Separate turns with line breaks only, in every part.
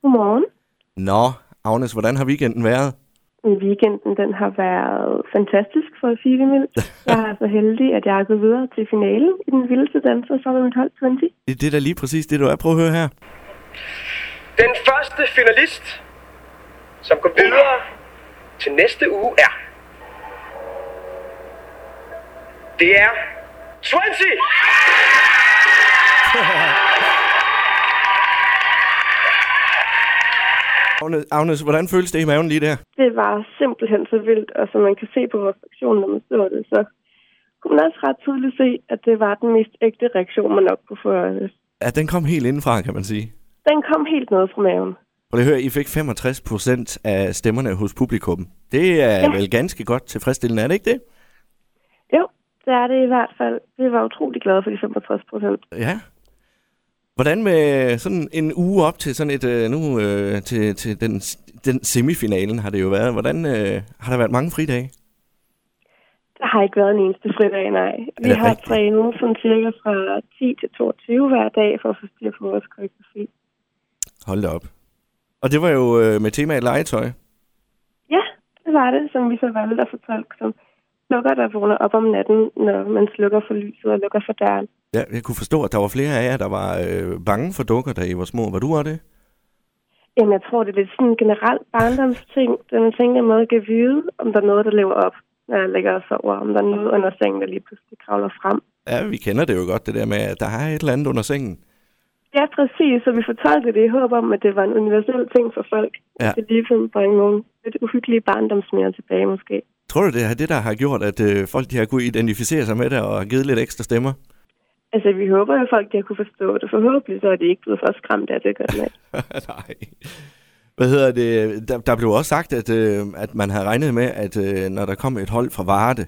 Godmorgen.
Nå, Agnes, hvordan har weekenden været?
Weekenden den har været fantastisk, for at sige det mildt. Jeg er så heldig, at jeg er gået videre til finalen i den vildeste danser sammen med mit hold 20.
Det er da lige præcis det, du er. Prøv at høre her.
Den første finalist, som går videre til næste uge, er... Det er... 20!
Agnes, Agnes hvordan føles det i maven lige der?
Det var simpelthen så vildt, og som man kan se på refleksionen, når man så det, så kunne man også ret tydeligt se, at det var den mest ægte reaktion, man nok kunne få.
Ja, den kom helt indenfra, kan man sige.
Den kom helt ned fra maven.
Og det hører, I fik 65 procent af stemmerne hos publikum. Det er ja.
Ja.
vel ganske godt tilfredsstillende, er det ikke det?
Jo, det er det i hvert fald. Vi var utrolig glade for de 65 procent.
Ja. Hvordan med sådan en uge op til sådan et, øh, nu øh, til, til den, den semifinalen har det jo været. Hvordan øh, har der været mange fridage?
Der har ikke været en eneste fridag, nej. Vi
det
har
rigtigt?
trænet sådan cirka fra 10 til 22 hver dag for at få styr på vores koreografi.
Hold da op. Og det var jo øh, med temaet legetøj.
Ja, det var det, som vi så valgte at fortolke som lukker, der vågner op om natten, når man slukker for lyset og lukker for døren.
Ja, jeg kunne forstå, at der var flere af jer, der var øh, bange for dukker, da I var små. Var du også det?
Jamen, jeg tror, det er lidt sådan en generel barndomsting, da man tænker, at man kan vide, om der er noget, der lever op, når jeg ligger og sover, om der er noget under sengen, der lige pludselig kravler frem.
Ja, vi kender det jo godt, det der med, at der er et eller andet under sengen.
Ja, præcis, så vi fortolkede det i håb om, at det var en universel ting for folk.
Ja.
At det ligesom bringer nogle lidt uhyggelige barndomsminder tilbage, måske.
Tror du, det er det, der har gjort, at øh, folk de har kunnet identificere sig med det og har givet lidt ekstra stemmer?
Altså, vi håber jo, at folk de har kunne forstå det. Forhåbentlig så er de ikke blevet for skræmt af det, godt nok.
Nej. Hvad hedder det? Der, der blev også sagt, at, øh, at man havde regnet med, at øh, når der kom et hold fra Varde,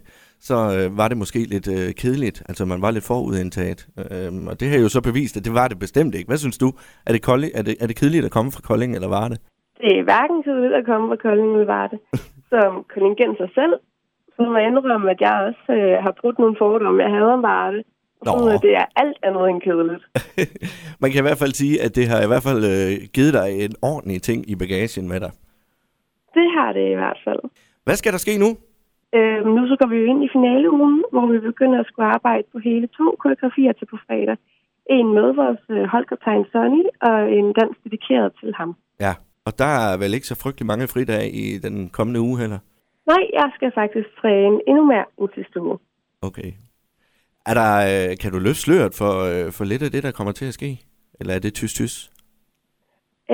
så øh, var det måske lidt øh, kedeligt. Altså, man var lidt forudindtaget. Øh, og det har jo så bevist, at det var det bestemt ikke. Hvad synes du? Er det, kolde, er det, er det kedeligt at komme fra Kolding eller Varde?
Det er hverken kedeligt at komme fra Kolding eller Varde. Som kolingen sig selv, så må jeg indrømme, at jeg også øh, har brugt nogle fordomme, jeg havde om Varde. Og
Nå.
fundet, ud af, at det er alt andet end kedeligt.
Man kan i hvert fald sige, at det har i hvert fald øh, givet dig en ordentlig ting i bagagen med dig.
Det har det i hvert fald.
Hvad skal der ske nu?
Øhm, nu så går vi jo ind i finaleugen, hvor vi begynder at skulle arbejde på hele to koreografier til på fredag. En med vores øh, holdkaptajn Sonny, og en dans dedikeret til ham.
Ja, og der er vel ikke så frygtelig mange fridage i den kommende uge heller.
Nej, jeg skal faktisk træne endnu mere ud til stue.
Okay. Er der, øh, kan du løfte sløret for, øh, for lidt af det, der kommer til at ske? Eller er det tys-tys?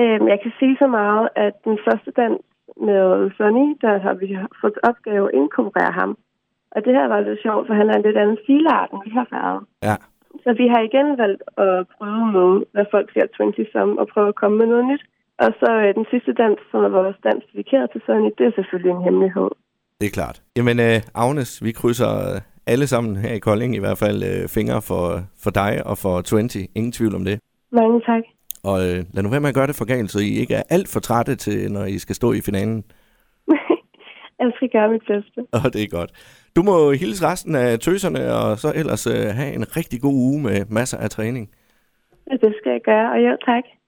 Øhm, jeg kan sige så meget, at den første dans med Sonny, der har vi fået til opgave at inkorporere ham. Og det her var lidt sjovt, for han er en lidt anden stilart, end vi har været.
Ja.
Så vi har igen valgt at prøve med, hvad folk ser 20 som, og prøve at komme med noget nyt. Og så øh, den sidste dans, som er vores dans dedikeret til Sonny, det er selvfølgelig en hemmelighed.
Det er klart. Jamen, øh, Agnes, vi krydser øh, alle sammen her i Kolding i hvert fald øh, fingre for, for dig og for 20. Ingen tvivl om det.
Mange tak.
Og øh, lad nu være med at gøre det for galt, så I ikke er alt for trætte til, når I skal stå i finalen.
jeg skal gøre mit bedste.
Og det er godt. Du må hilse resten af tøserne, og så ellers øh, have en rigtig god uge med masser af træning.
Det skal jeg gøre, og jo tak.